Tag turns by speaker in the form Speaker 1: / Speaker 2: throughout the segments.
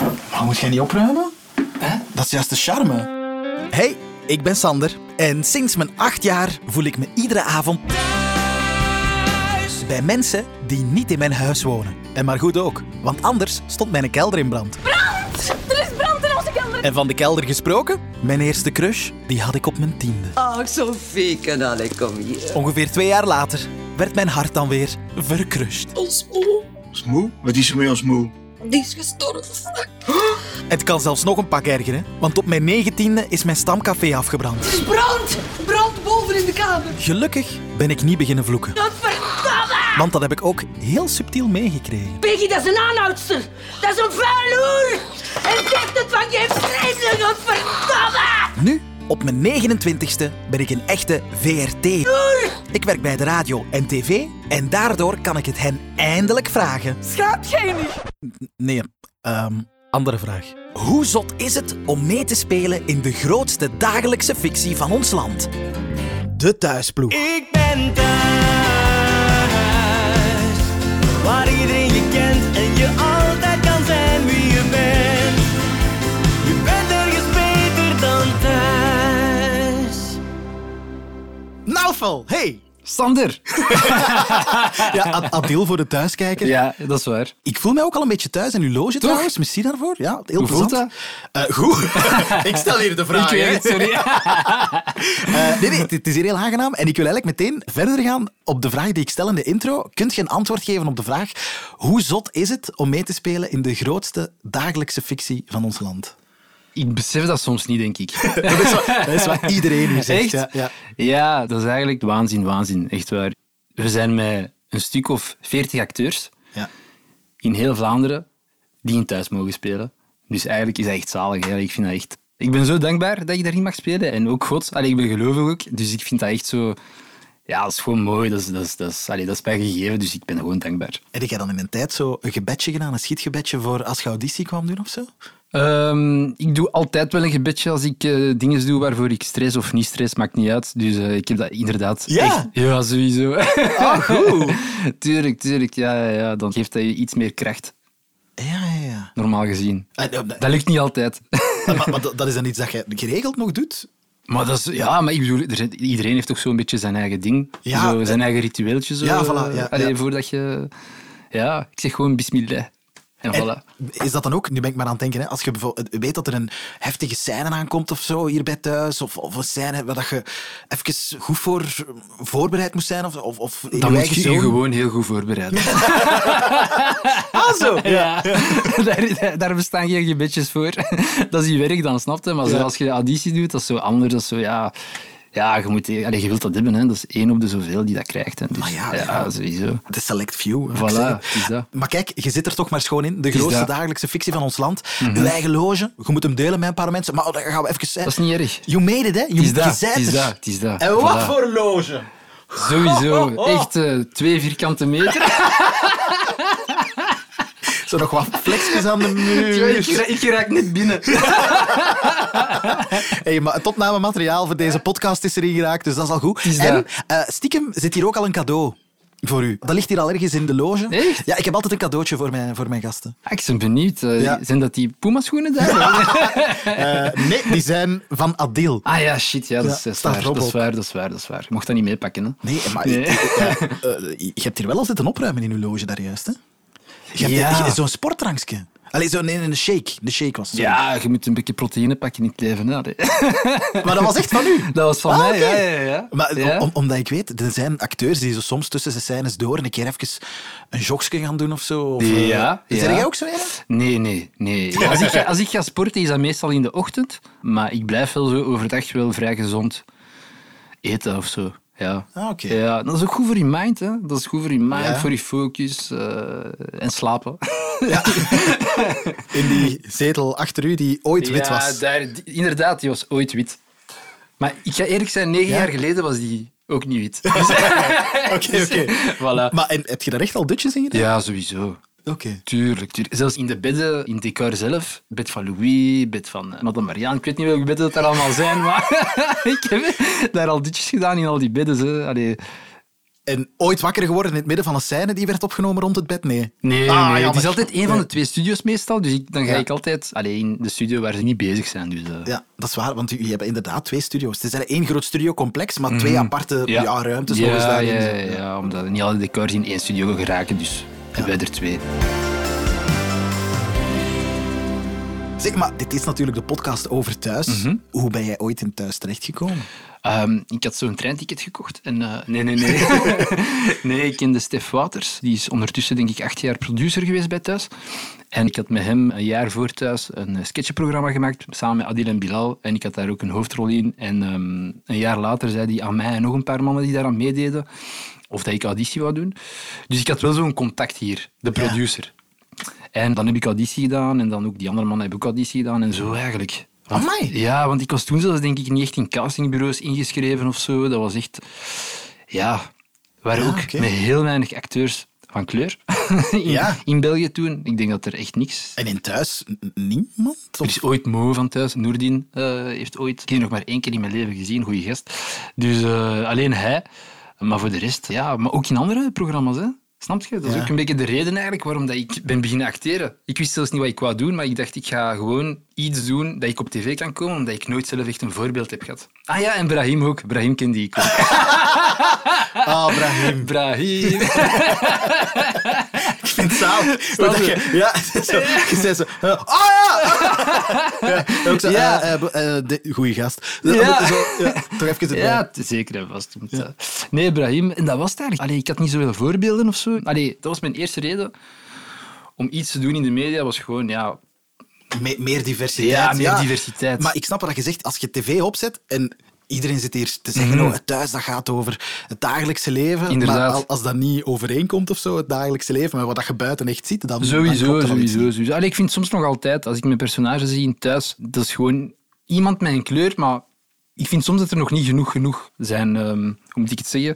Speaker 1: Waarom Oh, moet jij niet opruimen?
Speaker 2: Hè?
Speaker 1: Dat is juist de charme.
Speaker 3: Hey, ik ben Sander en sinds mijn acht jaar voel ik me iedere avond bij mensen die niet in mijn huis wonen. En maar goed ook, want anders stond mijn kelder in brand.
Speaker 4: Er is brand in onze kelder.
Speaker 3: En van de kelder gesproken, mijn eerste crush, die had ik op mijn tiende.
Speaker 2: Ach, Sophie, kanale, kom hier.
Speaker 3: Ongeveer twee jaar later werd mijn hart dan weer verkrust.
Speaker 4: Ons oom,
Speaker 5: Ons moe? Wat is er met ons moe?
Speaker 4: die is gestorven.
Speaker 3: Het kan zelfs nog een pak ergeren, want op mijn negentiende is mijn stamcafé afgebrand.
Speaker 4: Er is brand. Brand boven in de kamer.
Speaker 3: Gelukkig ben ik niet beginnen vloeken,
Speaker 4: Dat verdamme.
Speaker 3: want dat heb ik ook heel subtiel meegekregen.
Speaker 4: Peggy, dat is een aanhoudster. Dat is een vuil hoer. En zegt het van je vreemdeling, dat verdamme.
Speaker 3: Nu, op mijn 29ste, ben ik een echte VRT. Ik werk bij de radio en tv en daardoor kan ik het hen eindelijk vragen.
Speaker 4: Schaamt jij niet?
Speaker 3: Nee, ehm, andere vraag. Hoe zot is het om mee te spelen in de grootste dagelijkse fictie van ons land? De thuisploeg.
Speaker 6: Ik ben thuis, waar iedereen je kent en je altijd kan zijn wie je bent. Je bent ergens beter dan thuis.
Speaker 3: Naufel, Nou, hey!
Speaker 7: Sander!
Speaker 3: Ja, Ad- Adil voor de thuiskijker.
Speaker 7: Ja, dat is waar.
Speaker 3: Ik voel mij ook al een beetje thuis in uw loge trouwens. Merci daarvoor. Ja, heel
Speaker 7: Hoe voelt
Speaker 3: plezant. Eh, goed. ik stel hier de vraag.
Speaker 7: Ik weet het,
Speaker 3: hè.
Speaker 7: sorry.
Speaker 3: Eh, nee, nee, het- het is hier heel aangenaam. En ik wil eigenlijk meteen verder gaan op de vraag die ik stel in de intro. Kunt je een antwoord geven op de vraag hoe zot is het om mee te spelen in de grootste dagelijkse fictie van ons land?
Speaker 7: Ik besef dat soms niet, denk ik.
Speaker 3: Dat is wat, dat is wat iedereen nu zegt.
Speaker 7: Echt?
Speaker 3: Ja, ja.
Speaker 7: Ja, dat is eigenlijk waanzin, waanzin. Echt waar. We zijn met een stuk of veertig acteurs
Speaker 3: Ja.
Speaker 7: in heel Vlaanderen die in thuis mogen spelen. Dus eigenlijk is dat echt zalig. Hè. Ik vind dat echt... Ik ben zo dankbaar dat ik daarin mag spelen. En ook God. Allee, ik ben gelovig ook. Dus ik vind dat echt zo... Ja, dat is gewoon mooi. Dat is, dat is, dat is, allee, dat is mij gegeven. Dus ik ben gewoon dankbaar.
Speaker 3: Heb jij dan in een tijd zo een gebedje gedaan, een schietgebedje voor als je auditie kwam doen of zo?
Speaker 7: Ehm, ik doe altijd wel een gebedje als ik eh, dingen doe waarvoor ik stress of niet stress, maakt niet uit. Dus eh, ik heb dat inderdaad
Speaker 3: Ja?
Speaker 7: echt... Ja, sowieso. Ah, goed. tuurlijk, tuurlijk. Ja, ja, ja, dan geeft dat je iets meer kracht,
Speaker 3: Ja, ja, ja.
Speaker 7: normaal gezien.
Speaker 3: Eh, eh,
Speaker 7: Dat lukt niet altijd.
Speaker 3: maar, maar dat dat is dan iets dat je geregeld nog doet?
Speaker 7: maar dat is... Ja, maar ik bedoel, er zijn- iedereen heeft toch zo'n beetje zijn eigen ding.
Speaker 3: Ja,
Speaker 7: zo, zijn
Speaker 3: eh,
Speaker 7: eigen ritueeltje. Zo.
Speaker 3: ja, voilà, ja,
Speaker 7: Allee,
Speaker 3: ja.
Speaker 7: voordat je... Ja, ik zeg gewoon bismillah. En,
Speaker 3: En
Speaker 7: voilà.
Speaker 3: is dat dan ook, nu ben ik maar aan het denken, hè, als je bijvoorbeeld weet dat er een heftige scène aankomt of zo hier bij thuis, of, of een scène waar dat je even goed voor voorbereid moest zijn, of, of, of in
Speaker 7: Dan
Speaker 3: je
Speaker 7: moet
Speaker 3: eigen
Speaker 7: je je
Speaker 3: zone.
Speaker 7: gewoon heel goed voorbereiden.
Speaker 3: Ah, zo! Ja.
Speaker 7: Ja, daar, daar- daar bestaan geen gebedjes voor. dat is je werk dan, snapte. Maar zo als je de auditie doet, dat is zo anders. Dat is zo, ja, ja, je, moet, allee, je wilt dat hebben. Hè. Dat is één op de zoveel die dat krijgt. En dus,
Speaker 3: Maar Ah ja,
Speaker 7: ja,
Speaker 3: ja.
Speaker 7: sowieso.
Speaker 3: De select few. moet ik
Speaker 7: Voilà,
Speaker 3: zeggen.
Speaker 7: is dat.
Speaker 3: Maar kijk, je zit er toch maar schoon in. De
Speaker 7: Is
Speaker 3: grootste
Speaker 7: dat.
Speaker 3: dagelijkse fictie van ons land. Uw eigen loge. Je moet hem delen met een paar mensen. Maar oh, daar gaan we even zijn.
Speaker 7: Dat is niet erg.
Speaker 3: You made it, hè? You,
Speaker 7: Het is
Speaker 3: je
Speaker 7: dat,
Speaker 3: zijt
Speaker 7: het is
Speaker 3: er.
Speaker 7: dat, het is dat.
Speaker 3: En wat
Speaker 7: Voilà.
Speaker 3: voor Oh, loge?
Speaker 7: Sowieso. Echt eh, twee vierkante meter.
Speaker 3: Zo nog wat flexjes aan de muur.
Speaker 7: ik, ra- ik raak net binnen.
Speaker 3: Hey, maar het opnamemateriaal voor deze podcast is erin geraakt, dus dat is al goed.
Speaker 7: is
Speaker 3: en
Speaker 7: dat.
Speaker 3: eh, stiekem zit hier ook al een cadeau voor u. Dat ligt hier al ergens in de loge.
Speaker 7: Echt?
Speaker 3: Ja, ik heb altijd een cadeautje voor mijn, voor mijn gasten.
Speaker 7: Ah, ik ben benieuwd. eh,
Speaker 3: Ja.
Speaker 7: Zijn dat die Puma-schoenen daar?
Speaker 3: Eh, nee, die zijn van Adil.
Speaker 7: Ah ja, shit. Ja, dat,
Speaker 3: Ja,
Speaker 7: is, dat, is
Speaker 3: staat
Speaker 7: waar,
Speaker 3: erop
Speaker 7: dat is
Speaker 3: ook.
Speaker 7: waar. Dat is waar. Dat is waar. Je mocht dat niet meepakken. Hè.
Speaker 3: Nee, maar
Speaker 7: Nee.
Speaker 3: eh, eh, eh, je hebt hier wel al zitten opruimen in uw loge daar juist, hè? Je hebt
Speaker 7: Ja.
Speaker 3: je- zo'n sportdrankje. Allee, zo'n nee, een shake. De shake was het, sorry.
Speaker 7: Ja, je moet een beetje proteïne pakken in het leven. Hè. Allee.
Speaker 3: Maar dat was echt van u?
Speaker 7: Dat was van
Speaker 3: Ah,
Speaker 7: mij,
Speaker 3: oké.
Speaker 7: ja, ja, ja.
Speaker 3: Maar
Speaker 7: Ja.
Speaker 3: om- omdat ik weet, er zijn acteurs die zo soms tussen de scènes door een keer even een jogske gaan doen of zo. Of, eh,
Speaker 7: Ja,
Speaker 3: Zijn
Speaker 7: ja.
Speaker 3: jij ook zo een?
Speaker 7: Nee, nee, nee. Als ik, ga- als ik ga sporten is dat meestal in de ochtend, maar ik blijf wel zo overdag wel vrij gezond eten of zo. Ja.
Speaker 3: Ah, oké.
Speaker 7: ja, dat is ook goed voor je mind, hè. Dat is goed voor je mind,
Speaker 3: Ja.
Speaker 7: voor je focus eh, en slapen.
Speaker 3: In die zetel achter u die ooit wit was.
Speaker 7: daar, die- inderdaad, die was ooit wit. Maar ik ga eerlijk zijn, negen
Speaker 3: Ja?
Speaker 7: jaar geleden was die ook niet wit.
Speaker 3: Oké, oké.
Speaker 7: voilà.
Speaker 3: Maar en, heb je daar echt al dutjes in gedaan?
Speaker 7: Ja, sowieso.
Speaker 3: Oké.
Speaker 7: Tuurlijk, tuurlijk. Zelfs in de bedden, in het decor zelf. Bed van Louis, bed van eh, Madame Marianne. Ik weet niet welke bedden dat er allemaal zijn, maar ik heb daar al ditjes gedaan in al die bedden. Hè. Allee,
Speaker 3: En ooit wakker geworden in het midden van een scène die werd opgenomen rond het bed? Nee.
Speaker 7: Nee,
Speaker 3: Ah,
Speaker 7: nee. het
Speaker 3: jammer.
Speaker 7: is altijd één van de twee studios meestal. Dus ik, dan ga ik altijd alleen de studio waar ze niet bezig zijn. Dus, eh,
Speaker 3: Ja, dat is waar, want jullie hebben inderdaad twee studio's. Het is eigenlijk één groot studiocomplex, maar twee aparte Mhm. ja. ruimtes. nog
Speaker 7: ja,
Speaker 3: eens daarin.
Speaker 7: ja, ja, ja, omdat niet alle decors in één studio geraken, dus hebben wij er twee.
Speaker 3: Zeg, maar dit is natuurlijk de podcast over thuis. Hoe ben jij ooit in thuis terechtgekomen?
Speaker 7: Ehm, ik had zo'n treinticket gekocht. En, eh, nee, nee, nee. nee, ik kende Stef Waters. Die is ondertussen, denk ik, acht jaar producer geweest bij Thuis. En ik had met hem een jaar voor Thuis een eh, sketchenprogramma gemaakt, samen met Adil en Bilal. En ik had daar ook een hoofdrol in. En ehm, een jaar later zei hij aan mij en nog een paar mannen die daaraan meededen, of dat ik auditie wou doen. Dus ik had wel zo'n contact hier, de producer. En dan heb ik auditie gedaan en dan ook die andere mannen hebben ook auditie gedaan en zo eigenlijk. Want-
Speaker 3: Amai.
Speaker 7: Ja, want ik was toen zelfs denk ik niet echt in castingbureaus ingeschreven of zo. Dat was echt... Ja, we waren ook
Speaker 3: oké.
Speaker 7: met heel weinig acteurs van kleur in,
Speaker 3: Ja.
Speaker 7: in België toen. Ik denk dat er echt niks...
Speaker 3: En in thuis n- niemand?
Speaker 7: Er
Speaker 3: Of-
Speaker 7: is ooit Mo van thuis, Noordin, eh, heeft ooit... Ik heb die nog maar één keer in mijn leven gezien, goede gast. Dus eh, alleen hij. Maar voor de rest, ja, maar ook in andere programma's, hè. Snap je? Dat is ook een beetje de reden eigenlijk waarom dat ik ben beginnen acteren. Ik wist zelfs niet wat ik wou doen, maar ik dacht ik ga gewoon iets doen dat ik op tv kan komen, omdat ik nooit zelf echt een voorbeeld heb gehad. Ah ja, en Brahim ook. Brahim kende ik ook.
Speaker 3: Ah, Brahim.
Speaker 7: Brahim.
Speaker 3: Ik vind het zalig. Hoe
Speaker 7: Snap
Speaker 3: dat
Speaker 7: je?
Speaker 3: je- Ja, zo, je zei zo... eh, Ah ja! ja, ook zo,
Speaker 7: Ja.
Speaker 3: eh, eh, b- eh, de- goeie gast.
Speaker 7: Ja.
Speaker 3: Zo, ja, toch even erbij.
Speaker 7: Ja, t- zeker en vast. Want, eh, Nee, Brahim, en dat was het eigenlijk. Allee, ik had niet zoveel voorbeelden of zo. Allee, dat was mijn eerste reden om iets te doen in de media. was gewoon, ja...
Speaker 3: Me- meer diversiteit.
Speaker 7: Ja, meer diversiteit.
Speaker 3: Maar ik snap wat je zegt. Als je tv opzet en iedereen zit hier te zeggen oh, het thuis dat gaat over het dagelijkse leven.
Speaker 7: Mhm. Inderdaad.
Speaker 3: Maar al- als dat niet overeenkomt of zo, het dagelijkse leven, met wat dat je buiten echt ziet, dan dan
Speaker 7: Sowieso,
Speaker 3: klopt er al iets
Speaker 7: sowieso, sowieso. Allee, ik vind soms nog altijd, als ik mijn personage zie in thuis, dat is gewoon iemand met een kleur, maar... Ik vind soms dat er nog niet genoeg genoeg zijn, ehm, hoe moet ik het zeggen?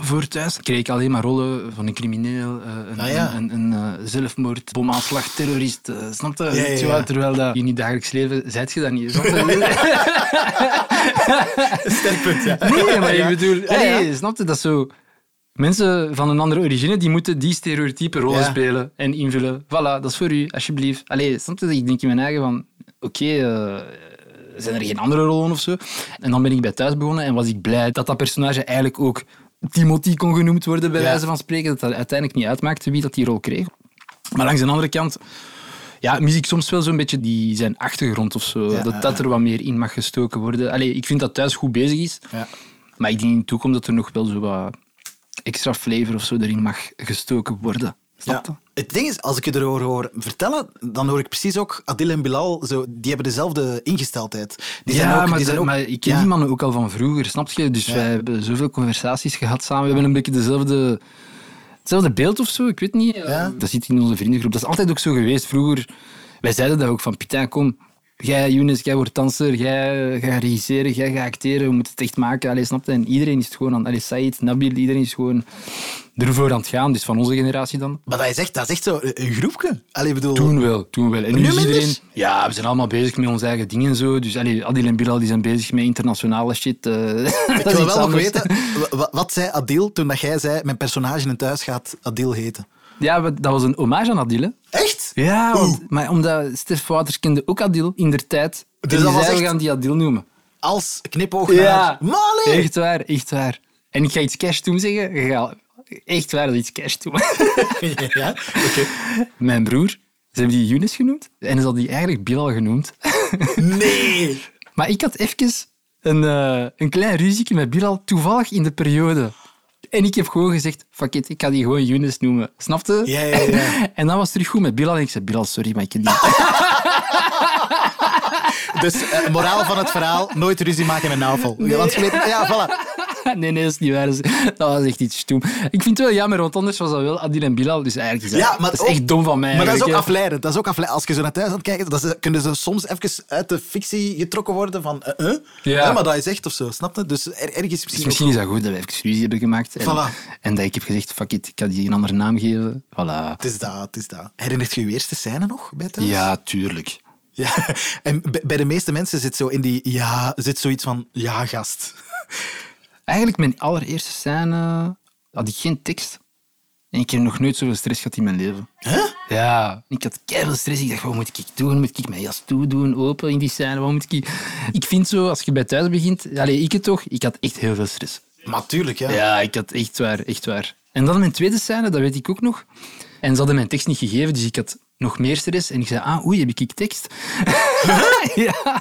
Speaker 7: Voor thuis kreeg ik alleen maar rollen van een crimineel, eh, een,
Speaker 3: Ah, ja.
Speaker 7: een, een, eh, zelfmoord, bomaanslag, terrorist. eh, snap je?
Speaker 3: ja,
Speaker 7: Zo,
Speaker 3: ja.
Speaker 7: Terwijl dat in je dagelijks leven, zijt je dat niet. Snap je?
Speaker 3: niet. Sterk punt, ja.
Speaker 7: Nee, maar
Speaker 3: Ja.
Speaker 7: ik bedoel,
Speaker 3: Ja, ja.
Speaker 7: allee, snap je dat zo? Mensen van een andere origine die moeten die stereotype rollen
Speaker 3: Ja.
Speaker 7: spelen en invullen. Voilà, dat is voor u, alsjeblieft. Allee, snap je dat ik denk in mijn eigen van, oké, eh, zijn er geen andere rollen of zo? En dan ben ik bij thuis begonnen en was ik blij dat dat personage eigenlijk ook Timothy kon genoemd worden, bij
Speaker 3: Ja.
Speaker 7: wijze van spreken. Dat dat uiteindelijk niet uitmaakte wie dat die rol kreeg. Maar langs de andere kant ja, mis ik soms wel zo'n beetje die, zijn achtergrond of zo.
Speaker 3: Ja,
Speaker 7: dat dat er wat meer in mag gestoken worden. Allee, ik vind dat thuis goed bezig is.
Speaker 3: Ja.
Speaker 7: Maar ik denk in de toekomst dat er nog wel zo wat extra flavor of zo erin mag gestoken worden.
Speaker 3: Ja.
Speaker 7: Snap je?
Speaker 3: Het ding is, als ik je erover hoor vertellen, dan hoor ik precies ook Adil en Bilal, zo, die hebben dezelfde ingesteldheid. Die zijn ook, die
Speaker 7: maar,
Speaker 3: zijn
Speaker 7: dat-
Speaker 3: ook,
Speaker 7: maar ik ken
Speaker 3: ja.
Speaker 7: die mannen ook al van vroeger, snap je? Dus wij hebben zoveel conversaties gehad samen. We hebben een beetje dezelfde, hetzelfde beeld of zo, ik weet niet.
Speaker 3: Ja.
Speaker 7: Dat zit in onze vriendengroep. Dat is altijd ook zo geweest. Vroeger, wij zeiden dat ook van, Pita, kom, jij Younes, jij wordt danser, jij eh, gaat regisseren, jij gaat acteren, we moeten het echt maken. Allee, snap je? En iedereen is het gewoon aan, allee, Said, Nabil, iedereen is gewoon ervoor aan het gaan. Dus van onze generatie dan.
Speaker 3: Maar dat is echt, dat is echt zo een een groepje. Allee, bedoel,
Speaker 7: Toen wel, toen wel. En
Speaker 3: nu
Speaker 7: nu is
Speaker 3: minder?
Speaker 7: iedereen... Ja, we zijn allemaal bezig met onze eigen dingen en zo. Dus allee, Adil en Bilal die zijn bezig met internationale shit. eh.
Speaker 3: ik wil wel nog weten, wa- wa- wat zei Adil toen dat jij zei, mijn personage in thuis gaat Adil heten?
Speaker 7: Ja, we- dat was een hommage aan Adil, hè?
Speaker 3: Echt?
Speaker 7: Ja, want, maar omdat Stef Wouters kende ook Adil in der tijd. Dus
Speaker 3: dat
Speaker 7: die
Speaker 3: was
Speaker 7: zei, we
Speaker 3: echt-
Speaker 7: gaan die Adil noemen.
Speaker 3: Als knipoog naar Mali!
Speaker 7: Echt waar, echt waar. En ik ga iets cash doen zeggen. Je gaat echt waar dat iets cash doen.
Speaker 3: Ja,
Speaker 7: Mijn broer, ze hebben die Younes genoemd. En ze hadden die eigenlijk Bilal genoemd.
Speaker 3: Nee!
Speaker 7: Maar ik had even een, eh, een klein ruzieke met Bilal, toevallig in de periode. En ik heb gewoon gezegd, fuck it, ik ga die gewoon Younes noemen. Snapte?
Speaker 3: Ja, ja, ja.
Speaker 7: En dan was het terug goed met Bilal. En ik zei, Bilal, sorry, maar ik ken die...
Speaker 3: Dus eh, moraal van het verhaal, nooit ruzie maken met navel. Want je weet, ja, voilà.
Speaker 7: nee, nee, dat is niet waar. Dat is- Dat was echt iets stoem. Ik vind het wel jammer, want anders was dat wel Adil en Bilal. Dus eigenlijk is dat,
Speaker 3: Ja, maar
Speaker 7: dat is
Speaker 3: ook-
Speaker 7: echt dom van mij.
Speaker 3: Maar dat is ook
Speaker 7: eigenlijk, hè.
Speaker 3: afleidend. Dat is ook afleidend. Als je zo naar thuis aan het kijken, dat is- kunnen ze soms even uit de fictie getrokken worden van... eh, eh?
Speaker 7: Ja.
Speaker 3: maar dat is echt of zo, snap je? Dus er, ergens
Speaker 7: Dus
Speaker 3: misschien...
Speaker 7: misschien is dat goed dat we even ruzie hebben gemaakt. En,
Speaker 3: Voilà.
Speaker 7: en dat ik heb gezegd, fuck it, ik ga die een andere naam geven. Voilà.
Speaker 3: Het is dat, het is dat. Herinnert je je eerste scène nog bij thuis?
Speaker 7: Ja, tuurlijk.
Speaker 3: Ja. En bij- bij de meeste mensen zit zo in die... Ja, zit zoiets van... Ja, gast.
Speaker 7: Eigenlijk mijn allereerste scène had ik geen tekst. En ik heb nog nooit zoveel stress gehad in mijn leven. Ja, ik had keihard stress. Ik dacht, wat moet ik doen? Moet ik mijn jas toedoen, open in die scène? Wat moet ik... Ik vind zo, als je bij thuis begint... Allee, ik het toch, ik had echt heel veel stress.
Speaker 3: Maar tuurlijk, ja.
Speaker 7: Ja, ik had echt waar, echt waar. En dan mijn tweede scène, dat weet ik ook nog. En ze hadden mijn tekst niet gegeven, dus ik had nog meer stress. En ik zei, ah, oei, heb ik ik tekst? ja.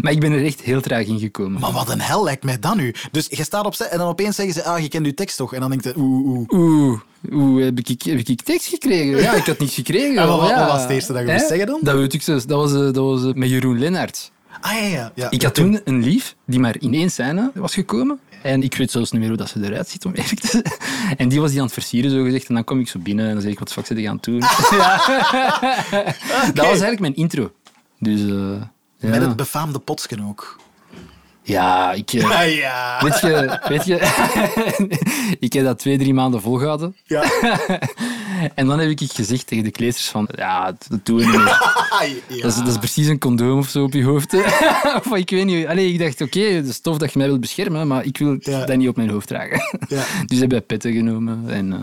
Speaker 7: Maar ik ben er echt heel traag in gekomen.
Speaker 3: Maar wat een hel lijkt mij dan nu. Dus je staat op set en dan opeens zeggen ze, ah, je kent uw tekst toch? En dan denkt je, oeh, oeh.
Speaker 7: Oeh, oeh heb, ik, heb ik tekst gekregen? Ja, ik had niets gekregen.
Speaker 3: En wat- wat-
Speaker 7: ja.
Speaker 3: wat was het eerste dat je moest
Speaker 7: Hè?
Speaker 3: zeggen dan?
Speaker 7: Dat weet ik zelfs. Dat was, eh, dat was eh, met Jeroen Lennart.
Speaker 3: Ah, ja, ja. ja.
Speaker 7: Ik had toen een lief die maar in één scène was gekomen. En ik weet zelfs niet meer hoe dat ze eruit ziet, om eerlijk te zijn. En die was die aan het versieren, zo gezegd. En dan kom ik zo binnen en dan zeg ik, wat fuck zit ik aan het doen?
Speaker 3: Ah.
Speaker 7: Ja. Dat was eigenlijk mijn intro. Dus, eh, ja.
Speaker 3: Met het befaamde potsken ook.
Speaker 7: ja, ik... eh,
Speaker 3: Ah, ja.
Speaker 7: Weet je, weet je ik heb dat twee, drie maanden volgehouden.
Speaker 3: Ja.
Speaker 7: en dan heb ik gezegd tegen de kleesters van, ja, dat doen we niet meer.
Speaker 3: Ah,
Speaker 7: Dat, is, dat is precies een condoom of zo op je hoofd. of ik weet niet. Allee, ik dacht, oké, het is tof dat je mij wilt beschermen, maar ik wil
Speaker 3: Ja.
Speaker 7: dat niet op mijn hoofd dragen.
Speaker 3: Ja.
Speaker 7: Dus heb ik petten genomen en, eh,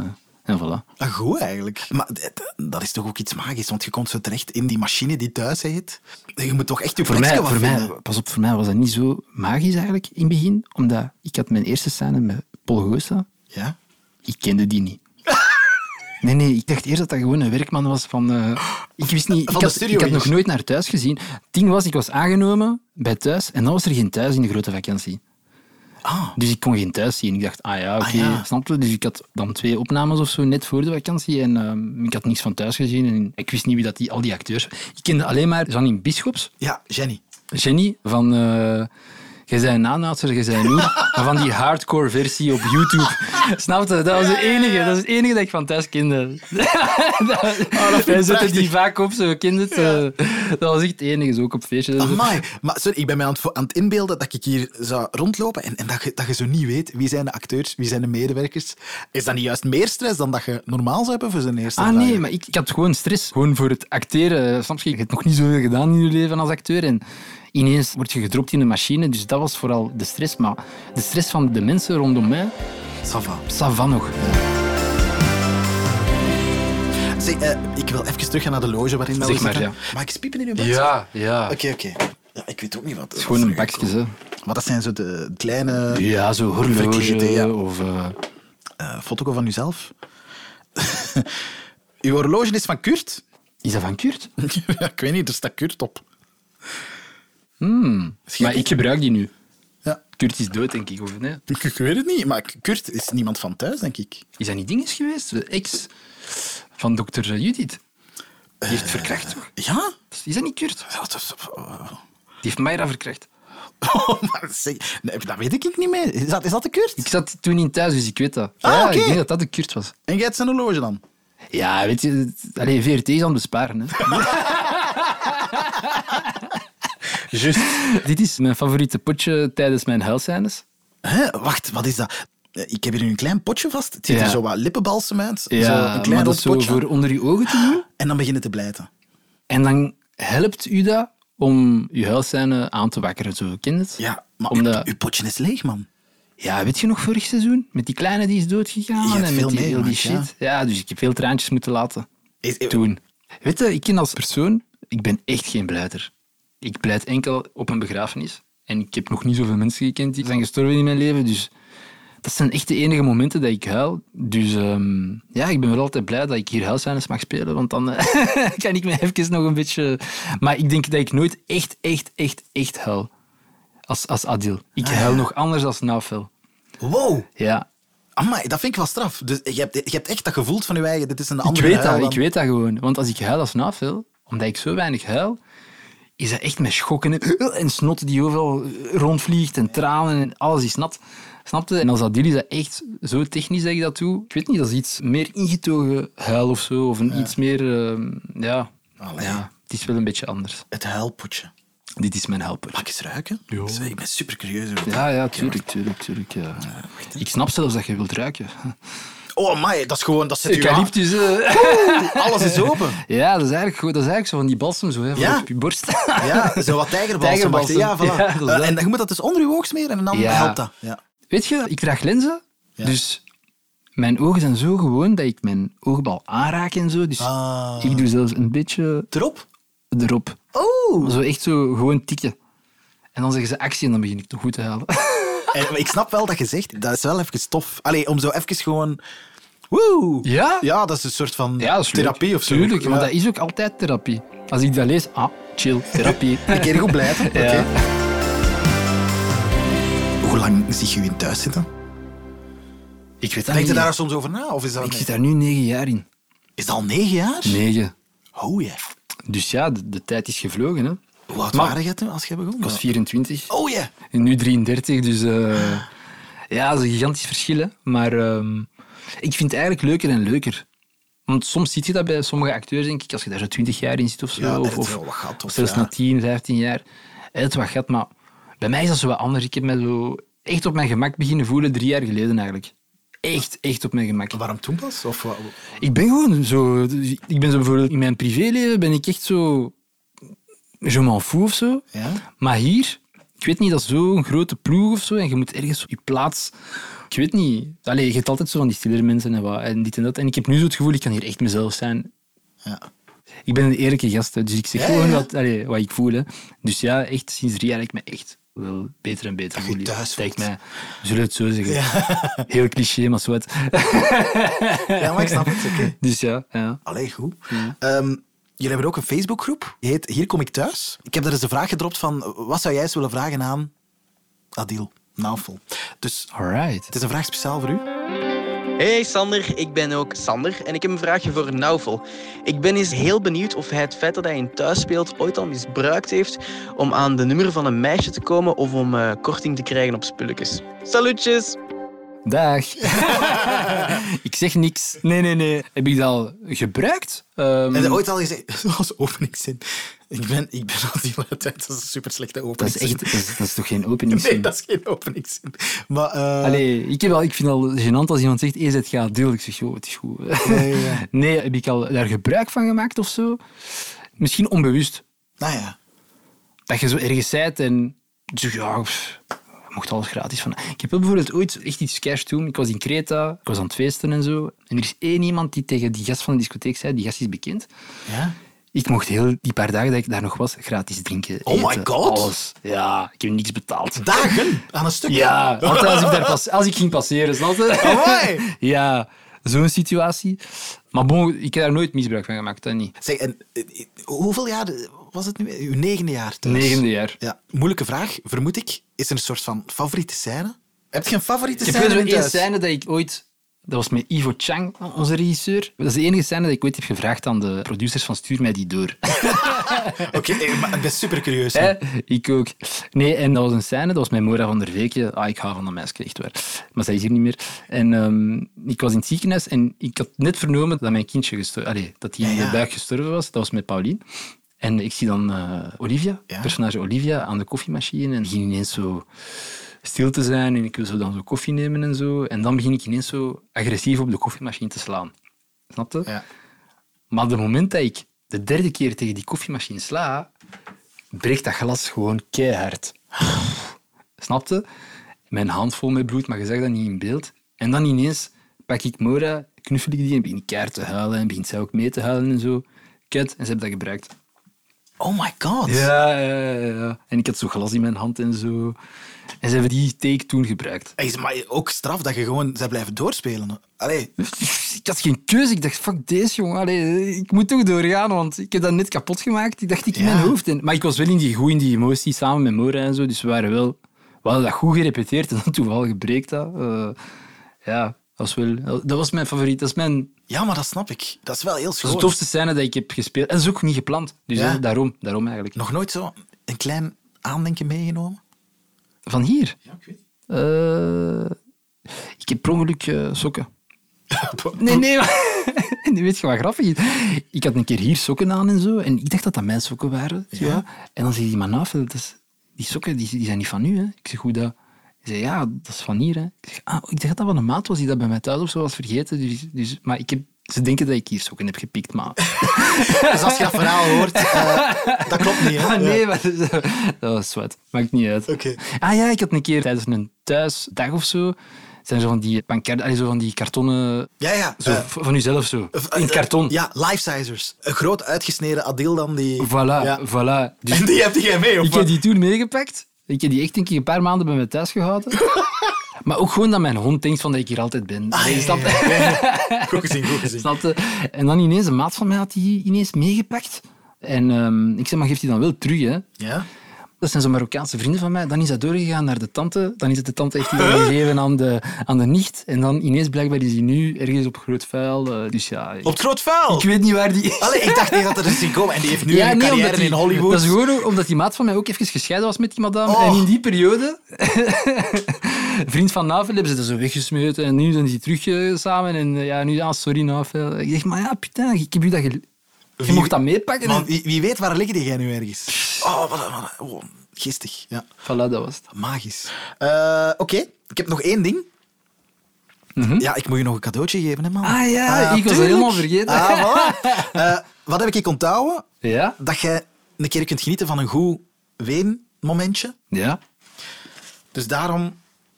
Speaker 7: en voilà.
Speaker 3: Ah, Goed eigenlijk. Maar dit- dat is toch ook iets magisch, want je komt zo terecht in die machine die thuis heet. Je moet toch echt je
Speaker 7: Voor mij,
Speaker 3: plekje wat
Speaker 7: voor mij,
Speaker 3: vinden.
Speaker 7: pas op, voor mij was dat niet zo magisch eigenlijk in het begin, omdat ik had mijn eerste scène met Paul Goossa.
Speaker 3: Ja?
Speaker 7: Ik kende die niet. Nee, nee, ik dacht eerst dat dat gewoon een werkman was van... eh, ik wist niet...
Speaker 3: Van
Speaker 7: ik
Speaker 3: de
Speaker 7: had,
Speaker 3: studio
Speaker 7: ik had nog
Speaker 3: hier.
Speaker 7: nooit naar thuis gezien. Ding was, ik was aangenomen bij thuis en dan was er geen thuis in de grote vakantie.
Speaker 3: Ah.
Speaker 7: Dus ik kon geen thuis zien. Ik dacht, ah ja, oké,
Speaker 3: Ah ja.
Speaker 7: snap je? Dus ik had dan twee opnames of zo net voor de vakantie en ehm, ik had niks van thuis gezien en ik wist niet wie dat die, al die acteurs... Ik kende alleen maar Janine Bischops,
Speaker 3: Ja, Jenny.
Speaker 7: Jenny van. eh jij zei een aanhoudster, jij zei een oer, maar van die hardcore versie op YouTube. Snap je? Dat was de enige. Dat is het enige dat ik van thuis kende. Ah, Wij zetten die vaak op, zo kinderen. eh, Dat was echt het enige, zo ook op feestjes. en zo.
Speaker 3: Amai. Maar sorry, ik ben mij aan het, vo- aan het inbeelden dat ik hier zou rondlopen en, en dat, je, dat je zo niet weet wie zijn de acteurs, wie zijn de medewerkers. Is dat niet juist meer stress dan dat je normaal zou hebben voor zijn eerste
Speaker 7: Ah
Speaker 3: vraag?
Speaker 7: nee, maar ik, ik had gewoon stress. Gewoon voor het acteren. Soms heb je hebt nog niet zoveel gedaan in je leven als acteur. En ineens word je gedropt in een machine. Dus dat was vooral de stress. Maar de stress van de mensen rondom mij,
Speaker 3: Ça va.
Speaker 7: savan nog.
Speaker 3: Zeg, eh, ik wil even terug gaan naar de loge waarin dat
Speaker 7: Zeg
Speaker 3: we
Speaker 7: maar,
Speaker 3: zitten. Mag ik spiepen in uw bak?
Speaker 7: ja.
Speaker 3: Oké, oké. Ja, ik weet ook niet wat. Het is
Speaker 7: Gewoon een bakje, hè.
Speaker 3: Maar dat zijn zo de kleine
Speaker 7: Ja, zo horloge
Speaker 3: Verkleden, ja.
Speaker 7: of... eh,
Speaker 3: eh foto van uzelf. Uw horloge is van Kurt?
Speaker 7: is dat van Kurt?
Speaker 3: ja, ik weet niet, er staat Kurt op. Hmm.
Speaker 7: Maar ik gebruik die nu.
Speaker 3: Ja.
Speaker 7: Kurt is dood, denk ik, of nee?
Speaker 3: Ik, ik weet het niet, maar Kurt is niemand van thuis, denk ik.
Speaker 7: Is dat niet dinges geweest? De ex van dokter eh, Judith. Die heeft verkracht, toch?
Speaker 3: Ja?
Speaker 7: Is dat niet Kurt?
Speaker 3: Ja, dat is- oh,
Speaker 7: Die heeft Mayra verkracht.
Speaker 3: maar zeg, nee, dat weet ik niet meer. Is dat, is dat de Kurt?
Speaker 7: Ik zat toen in thuis, dus ik weet dat.
Speaker 3: Ah,
Speaker 7: ja,
Speaker 3: oké.
Speaker 7: ik denk dat dat de Kurt was.
Speaker 3: En jij hebt zijn horloge dan?
Speaker 7: Ja, weet je... het- Allee, VRT is aan het besparen, hè.
Speaker 3: Juist.
Speaker 7: Dit is mijn favoriete potje tijdens mijn huilscènes.
Speaker 3: Hè, wacht, wat is dat? Eh, Ik heb hier een klein potje vast. Het ziet
Speaker 7: Ja.
Speaker 3: er zo wat lippenbalsem uit. zo een
Speaker 7: Ja,
Speaker 3: klein
Speaker 7: maar dat
Speaker 3: rond
Speaker 7: is zo
Speaker 3: potje.
Speaker 7: voor onder je ogen te doen.
Speaker 3: En dan beginnen te blijten.
Speaker 7: En dan helpt u dat om je huilscène aan te wakkeren, zo ken je het?
Speaker 3: Ja, maar
Speaker 7: Omdat,
Speaker 3: uw, uw potje is leeg, man.
Speaker 7: ja, weet je nog vorig seizoen? Met die kleine die is doodgegaan
Speaker 3: Je hebt
Speaker 7: en met
Speaker 3: veel
Speaker 7: die, heel die
Speaker 3: meegemaakt,
Speaker 7: shit. Ja. dus ik heb veel traantjes moeten laten
Speaker 3: Is- eh,
Speaker 7: toen. Weet je, ik ken als persoon, ik ben echt geen blijter. Ik pleit enkel op een begrafenis. En ik heb nog niet zoveel mensen gekend die zijn gestorven in mijn leven, dus... Dat zijn echt de enige momenten dat ik huil. Dus ehm, ja, ik ben wel altijd blij dat ik hier huilscènes mag spelen. Want dan eh, kan ik me even nog een beetje... Maar ik denk dat ik nooit echt, echt, echt, echt huil. Als, als Adil. Ik huil nog anders als Naufel.
Speaker 3: Wow.
Speaker 7: Ja.
Speaker 3: Amai, dat vind ik wel straf. Dus je hebt, je hebt echt dat gevoel van je eigen... Dit is een
Speaker 7: Ik
Speaker 3: andere
Speaker 7: weet dat,
Speaker 3: huil dan-
Speaker 7: ik weet dat gewoon. Want als ik huil als Naufel, omdat ik zo weinig huil, is dat echt met schokken en, eh, en snot die overal eh, rondvliegt en tranen en alles is nat. Snapte? En als Adil is dat echt zo technisch dat ik dat doe. Ik weet niet, dat is iets meer ingetogen huil of zo. Of een iets meer... ehm, ja.
Speaker 3: Allee.
Speaker 7: ja, het is wel een beetje anders.
Speaker 3: Het huilpotje.
Speaker 7: Dit is mijn helper.
Speaker 3: Mag ik eens ruiken? Sorry, Ik ben super curieus. over dit.
Speaker 7: Ja, ja, tuurlijk, tuurlijk, tuurlijk. Ja. ik snap zelfs dat je wilt ruiken.
Speaker 3: Oh, amai, dat is gewoon... Dat zit u aan.
Speaker 7: Eucalyptus. eh.
Speaker 3: Alles is open.
Speaker 7: Ja, dat is eigenlijk, goed. dat is eigenlijk zo van die balsem zo, hè, van
Speaker 3: Ja.
Speaker 7: op je borst.
Speaker 3: Ja, zo wat tijgerbalsem. wacht, hè. Ja,
Speaker 7: Tijgerbalsem.
Speaker 3: voilà.
Speaker 7: Ja,
Speaker 3: Eh,
Speaker 7: dat is dat.
Speaker 3: en je moet dat dus onder je oog smeren en dan
Speaker 7: Ja.
Speaker 3: helpt dat. Ja.
Speaker 7: Weet je, ik draag lenzen,
Speaker 3: Ja.
Speaker 7: dus Mijn ogen zijn zo gewoon dat ik mijn oogbal aanraak en zo. Dus
Speaker 3: Ah.
Speaker 7: ik doe zelfs een beetje
Speaker 3: Erop?
Speaker 7: erop.
Speaker 3: Oh!
Speaker 7: Zo echt zo gewoon tikken. En dan zeggen ze actie en dan begin ik toch goed te halen.
Speaker 3: Eh, maar ik snap wel dat je zegt, dat is wel even tof. Allee, om zo even gewoon... Woe!
Speaker 7: Ja?
Speaker 3: Ja, dat is een soort van
Speaker 7: Ja, dat is leuk.
Speaker 3: therapie of zo.
Speaker 7: Tuurlijk,
Speaker 3: ja.
Speaker 7: want dat is ook altijd therapie. Als ik dat lees, ah, chill, therapie.
Speaker 3: Een keer goed blijven. Oké.
Speaker 7: Ja.
Speaker 3: Hoe lang zie je je in thuis zitten?
Speaker 7: ik weet dat
Speaker 3: Denk je
Speaker 7: niet.
Speaker 3: daar soms over na? Of is dat,
Speaker 7: Ik zit daar nu negen jaar in.
Speaker 3: is dat al negen jaar?
Speaker 7: Negen.
Speaker 3: Oh ja.
Speaker 7: Dus ja, de, de tijd is gevlogen. Hè. Ik
Speaker 3: Hoe oud
Speaker 7: Maar-
Speaker 3: waren jij toen als je begon?
Speaker 7: was 24
Speaker 3: Oh ja.
Speaker 7: en nu 33, dus eh, ja, dat is een gigantisch verschil. Hè. Maar ehm, ik vind het eigenlijk leuker en leuker. Want soms zie je dat bij sommige acteurs, denk ik, als je daar zo 20 jaar in zit of zo.
Speaker 3: Ja, dat
Speaker 7: of,
Speaker 3: heeft
Speaker 7: of-
Speaker 3: wel wat gat,
Speaker 7: of
Speaker 3: of
Speaker 7: zelfs
Speaker 3: ja.
Speaker 7: na 10, 15 jaar. Het heeft wat gat, maar bij mij is dat zo wat anders. Ik heb me zo echt op mijn gemak beginnen voelen drie jaar geleden eigenlijk. Echt, echt op mijn gemak.
Speaker 3: Waarom toen pas? Of wat?
Speaker 7: Ik ben gewoon zo... dus Ik ik ben zo bijvoorbeeld in mijn privéleven ben ik echt zo... Je m'en fout of zo.
Speaker 3: Ja.
Speaker 7: Maar hier, ik weet niet, dat is zo'n grote ploeg of zo. En je moet ergens op je plaats... Ik weet niet. Allee, je hebt altijd zo van die stillere mensen en, wat, en dit en dat. En ik heb nu zo het gevoel, ik kan hier echt mezelf zijn.
Speaker 3: Ja.
Speaker 7: Ik ben een eerlijke gast, hè, dus ik zeg
Speaker 3: Ja,
Speaker 7: gewoon
Speaker 3: ja, ja.
Speaker 7: Wat, allee, wat ik voel. Hè. Dus ja, echt sinds drie jaar heb ik me echt wel beter en beter
Speaker 3: je
Speaker 7: voel. hier.
Speaker 3: thuis
Speaker 7: Dat ik
Speaker 3: voelt.
Speaker 7: mij, we zullen het zo zeggen. Heel cliché, maar zwart.
Speaker 3: ja, maar ik snap het. Oké.
Speaker 7: Dus ja, ja.
Speaker 3: Allee, goed. Ehm, jullie hebben ook een Facebookgroep. Die heet Hier kom ik thuis. Ik heb daar eens de vraag gedropt van... Wat zou jij eens willen vragen aan Adil Naufel? Dus
Speaker 7: Alright.
Speaker 3: het is een vraag speciaal voor u.
Speaker 8: Hey Sander, ik ben ook Sander en ik heb een vraagje voor Nauvel. Ik ben eens heel benieuwd of hij het feit dat hij in thuis speelt ooit al misbruikt heeft om aan de nummer van een meisje te komen of om eh, korting te krijgen op spulletjes. Salutjes!
Speaker 7: Dag. ik zeg niks. Nee, nee, nee. Heb ik dat al gebruikt? Ehm,
Speaker 3: En dat ooit al gezegd... Als openingszin. Ik ben, ik ben Adil uit Dat is een super slechte
Speaker 7: dat is
Speaker 3: openingszin.
Speaker 7: echt... Dat is, dat is toch geen openingszin?
Speaker 3: Nee, dat is geen openingszin. Maar... eh,
Speaker 7: Allee, ik, heb al, ik vind het al gênant als iemand zegt, "E is het gaat deel. Ik zeg, joh, het is goed.
Speaker 3: Nee, ja.
Speaker 7: nee, heb ik al daar gebruik van gemaakt of zo? Misschien onbewust.
Speaker 3: Nou ja.
Speaker 7: Dat je zo ergens zijt en... Zo, ja, pff, je mocht alles gratis van. Ik heb wel bijvoorbeeld ooit echt iets cash toen. Ik was in Creta, ik was aan het feesten en zo. En er is één iemand die tegen die gast van de discotheek zei, die gast is bekend.
Speaker 3: Ja?
Speaker 7: Ik mocht heel die paar dagen dat ik daar nog was, gratis drinken.
Speaker 3: Oh my
Speaker 7: eten,
Speaker 3: God.
Speaker 7: Alles. Ja, ik heb niks betaald.
Speaker 3: Dagen aan een stuk.
Speaker 7: Ja, altijd als ik, daar pas, als ik ging passeren, snap je?
Speaker 3: Amai.
Speaker 7: Ja, zo'n situatie. Maar bon, ik heb daar nooit misbruik van gemaakt, dat niet.
Speaker 3: Zeg, en eh, hoeveel jaar was het nu? Uw negende jaar thuis?
Speaker 7: Negende jaar.
Speaker 3: Ja, moeilijke vraag, vermoed ik. Is er een soort van favoriete scène? Heb je een favoriete
Speaker 7: Ik heb
Speaker 3: scène
Speaker 7: wel zo'n
Speaker 3: in
Speaker 7: één
Speaker 3: thuis?
Speaker 7: scène dat ik ooit... Dat was met Ivo Chang, onze regisseur. Dat is de enige scène dat ik ooit heb gevraagd aan de producers van stuur mij die door.
Speaker 3: Oké, eh, maar ik ben super curieus. hè.
Speaker 7: Hè? Ik ook. Nee, en dat was een scène, dat was met Mora van der Weekje. Ah, ik hou van dat meisje, echt waar. Maar zij is hier niet meer. En ehm, ik was in het ziekenhuis en ik had net vernomen dat mijn kindje gestorven... Allee, dat hij in
Speaker 3: Ja, ja.
Speaker 7: de buik gestorven was. Dat was met Paulien. En ik zie dan eh, Olivia,
Speaker 3: Ja.
Speaker 7: personage Olivia, aan de koffiemachine. En die ging ineens zo stil te zijn en ik wil zo dan zo koffie nemen en zo. En dan begin ik ineens zo agressief op de koffiemachine te slaan. Snap je?
Speaker 3: Ja.
Speaker 7: Maar de moment dat ik de derde keer tegen die koffiemachine sla, breekt dat glas gewoon keihard. Snapte? Mijn hand vol met bloed, maar je zag dat niet in beeld. En dan ineens pak ik Mora, knuffel ik die en begin ik keihard te huilen. En begint zij ook mee te huilen en zo. Kut, en ze hebben dat gebruikt.
Speaker 3: Oh my god.
Speaker 7: Ja, ja, ja, ja. En ik had zo glas in mijn hand en zo. En ze hebben die take toen gebruikt.
Speaker 3: Hey, maar ook straf dat je gewoon zij blijven doorspelen. Allee,
Speaker 7: Ik had geen keuze. Ik dacht, fuck deze, jongen. Allee, ik moet toch doorgaan, want ik heb dat net kapot gemaakt. Ik dacht, ik in
Speaker 3: Ja.
Speaker 7: mijn hoofd. En, maar ik was wel in die, goed in die emotie, samen met Mora en zo. Dus we waren wel... We hadden dat goed gerepeteerd en dan toevallig breekt dat. Eh, ja, dat was wel... Dat was mijn favoriet. Dat is mijn... Dat
Speaker 3: ja, maar dat snap ik. Dat is wel heel
Speaker 7: is
Speaker 3: schoon.
Speaker 7: de tofste scène dat ik heb gespeeld. En dat is ook niet gepland. Dus
Speaker 3: Ja.
Speaker 7: hè, daarom, daarom eigenlijk.
Speaker 3: Nog nooit zo een klein aandenken meegenomen?
Speaker 7: Van hier? Ja, ik weet Ik heb per ongeluk eh, sokken. Nee, nee, maar... Nu weet je wat grappig is? Ik had een keer hier sokken aan en zo. En ik dacht dat dat mijn sokken waren. zo, Ja. En dan zei die man af, dat is, die sokken die, die zijn niet van u. Hè. Ik zeg, hoe dat? Hij zei, ja, dat is van hier. Hè. Ik zeg, ah, ik dacht dat dat van een maat was die dat bij mij thuis of zo was vergeten. Dus, dus, maar ik heb, ze denken dat ik hier sokken heb gepikt, maar...
Speaker 3: Dus als je dat verhaal hoort, eh, dat klopt niet. Hè?
Speaker 7: Ah, nee, maar dat was zwart. Maakt niet uit.
Speaker 3: Oké.
Speaker 7: Ah ja, ik had een keer tijdens een thuisdag of zo zijn zo van die pancarden, allee, zo van die kartonnen...
Speaker 3: Ja, ja.
Speaker 7: Zo,
Speaker 3: eh,
Speaker 7: v- van uzelf zo.
Speaker 3: eh,
Speaker 7: In het karton.
Speaker 3: Ja, life-sizers. Een groot uitgesneden Adil dan die...
Speaker 7: Voilà,
Speaker 3: Ja.
Speaker 7: voilà. Dus
Speaker 3: En die heb jij mee, of
Speaker 7: ik heb die toen meegepakt. Ik heb die echt denk ik, een paar maanden bij me thuis gehouden. maar ook gewoon dat mijn hond denkt van dat ik hier altijd ben.
Speaker 3: Ah,
Speaker 7: Allee, snap je?
Speaker 3: wat? Goed gezien, goed gezien.
Speaker 7: Snap je? En dan ineens, een maat van mij had die ineens meegepakt. En ehm, ik zei, maar geeft die dan wel terug, hè?
Speaker 3: Ja?
Speaker 7: Dat zijn zo'n Marokkaanse vrienden van mij. Dan is dat doorgegaan naar de tante. Dan is het de tante echt die dat gegeven aan de, aan de nicht. En dan ineens blijkbaar is hij nu ergens op groot vuil. eh, dus ja, ik,
Speaker 3: Op het groot vuil!
Speaker 7: ik weet niet waar die...
Speaker 3: Allee, ik dacht niet dat er een ging komen. En die heeft Ah, nu een carrière
Speaker 7: die-
Speaker 3: in Hollywood.
Speaker 7: Dat is gewoon omdat die maat van mij ook even gescheiden was met die madame.
Speaker 3: Oh.
Speaker 7: En in die periode, vriend van Navel, hebben ze dat zo weggesmeten. En nu zijn die terug eh, samen. En eh, ja, nu, ah, sorry Navel. Ik zeg, maar ja, putain, ik heb u dat gel- Je
Speaker 3: Wie-
Speaker 7: mocht dat meepakken.
Speaker 3: Man,
Speaker 7: En-
Speaker 3: wie, wie weet, waar liggen die jij nu ergens? Oh, wat, een- wat een- oh, geestig. Ja,
Speaker 7: Voilà, dat was het.
Speaker 3: magisch. Eh, Oké, ik heb nog één ding.
Speaker 7: Mhm.
Speaker 3: Ja, ik moet je nog een cadeautje geven, hè, man.
Speaker 7: Ah ja, ik was dat
Speaker 3: tuurlijk.
Speaker 7: helemaal vergeten.
Speaker 3: Ah, voilà. Eh, wat heb ik onthouden?
Speaker 7: Ja?
Speaker 3: Dat jij een keer kunt genieten van een goed weenmomentje.
Speaker 7: Ja.
Speaker 3: Dus daarom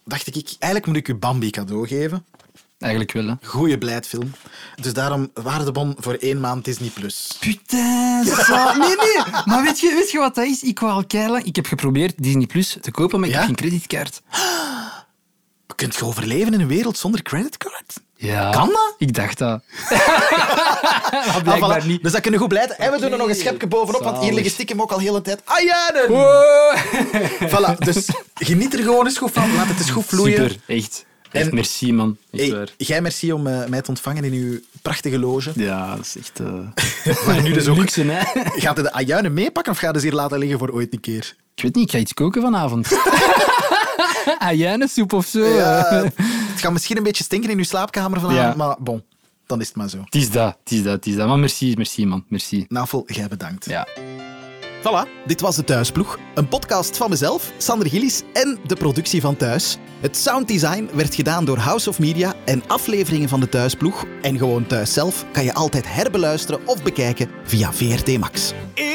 Speaker 3: dacht ik, ik- eigenlijk moet ik u Bambi cadeau geven.
Speaker 7: Eigenlijk wel, hè.
Speaker 3: Goeie blijdfilm. Dus daarom waardebon voor één maand Disney+. Plus.
Speaker 7: Putain, zo- Nee, nee. Maar weet je, weet je wat dat is? Ik wou al keilang... Ik heb geprobeerd Disney Plus te kopen, maar ik
Speaker 3: Ja?
Speaker 7: heb geen creditkaart.
Speaker 3: Kunt je overleven in een wereld zonder creditcard?
Speaker 7: Ja.
Speaker 3: Kan dat?
Speaker 7: Ik dacht dat. maar blijkbaar
Speaker 3: Ah, voilà.
Speaker 7: niet.
Speaker 3: Dus dat kunnen we goed blijven. En we doen er nog een schepje bovenop, want hier
Speaker 7: Zalig.
Speaker 3: liggen stiekem ook al heel de tijd ajuinen. Voilà, dus geniet er gewoon eens goed van. Laat het eens goed vloeien.
Speaker 7: Super, echt. Echt,
Speaker 3: En-
Speaker 7: merci man. Echt
Speaker 3: Hey,
Speaker 7: waar.
Speaker 3: jij merci om eh, mij te ontvangen in uw prachtige loge.
Speaker 7: Ja, dat is echt... eh,
Speaker 3: Maar nu dus ook.
Speaker 7: Luxe, hè?
Speaker 3: Gaat u de ajuinen meepakken of gaat ze hier laten liggen voor ooit een keer?
Speaker 7: Ik weet niet, ik ga iets koken vanavond. Ajuinensoep of zo.
Speaker 3: Ja, het gaat misschien een beetje stinken in uw slaapkamer vanavond,
Speaker 7: Ja.
Speaker 3: maar bon, dan is het maar zo.
Speaker 7: Het is dat, het is dat, het is dat. Maar merci, merci man, merci.
Speaker 3: Navel, jij bedankt.
Speaker 7: Ja.
Speaker 3: Voilà, dit was De Thuisploeg. Een podcast van mezelf, Sander Gillis en de productie van Thuis. Het sounddesign werd gedaan door House of Media en afleveringen van De Thuisploeg en gewoon Thuis zelf kan je altijd herbeluisteren of bekijken via VRT Max.
Speaker 6: Ik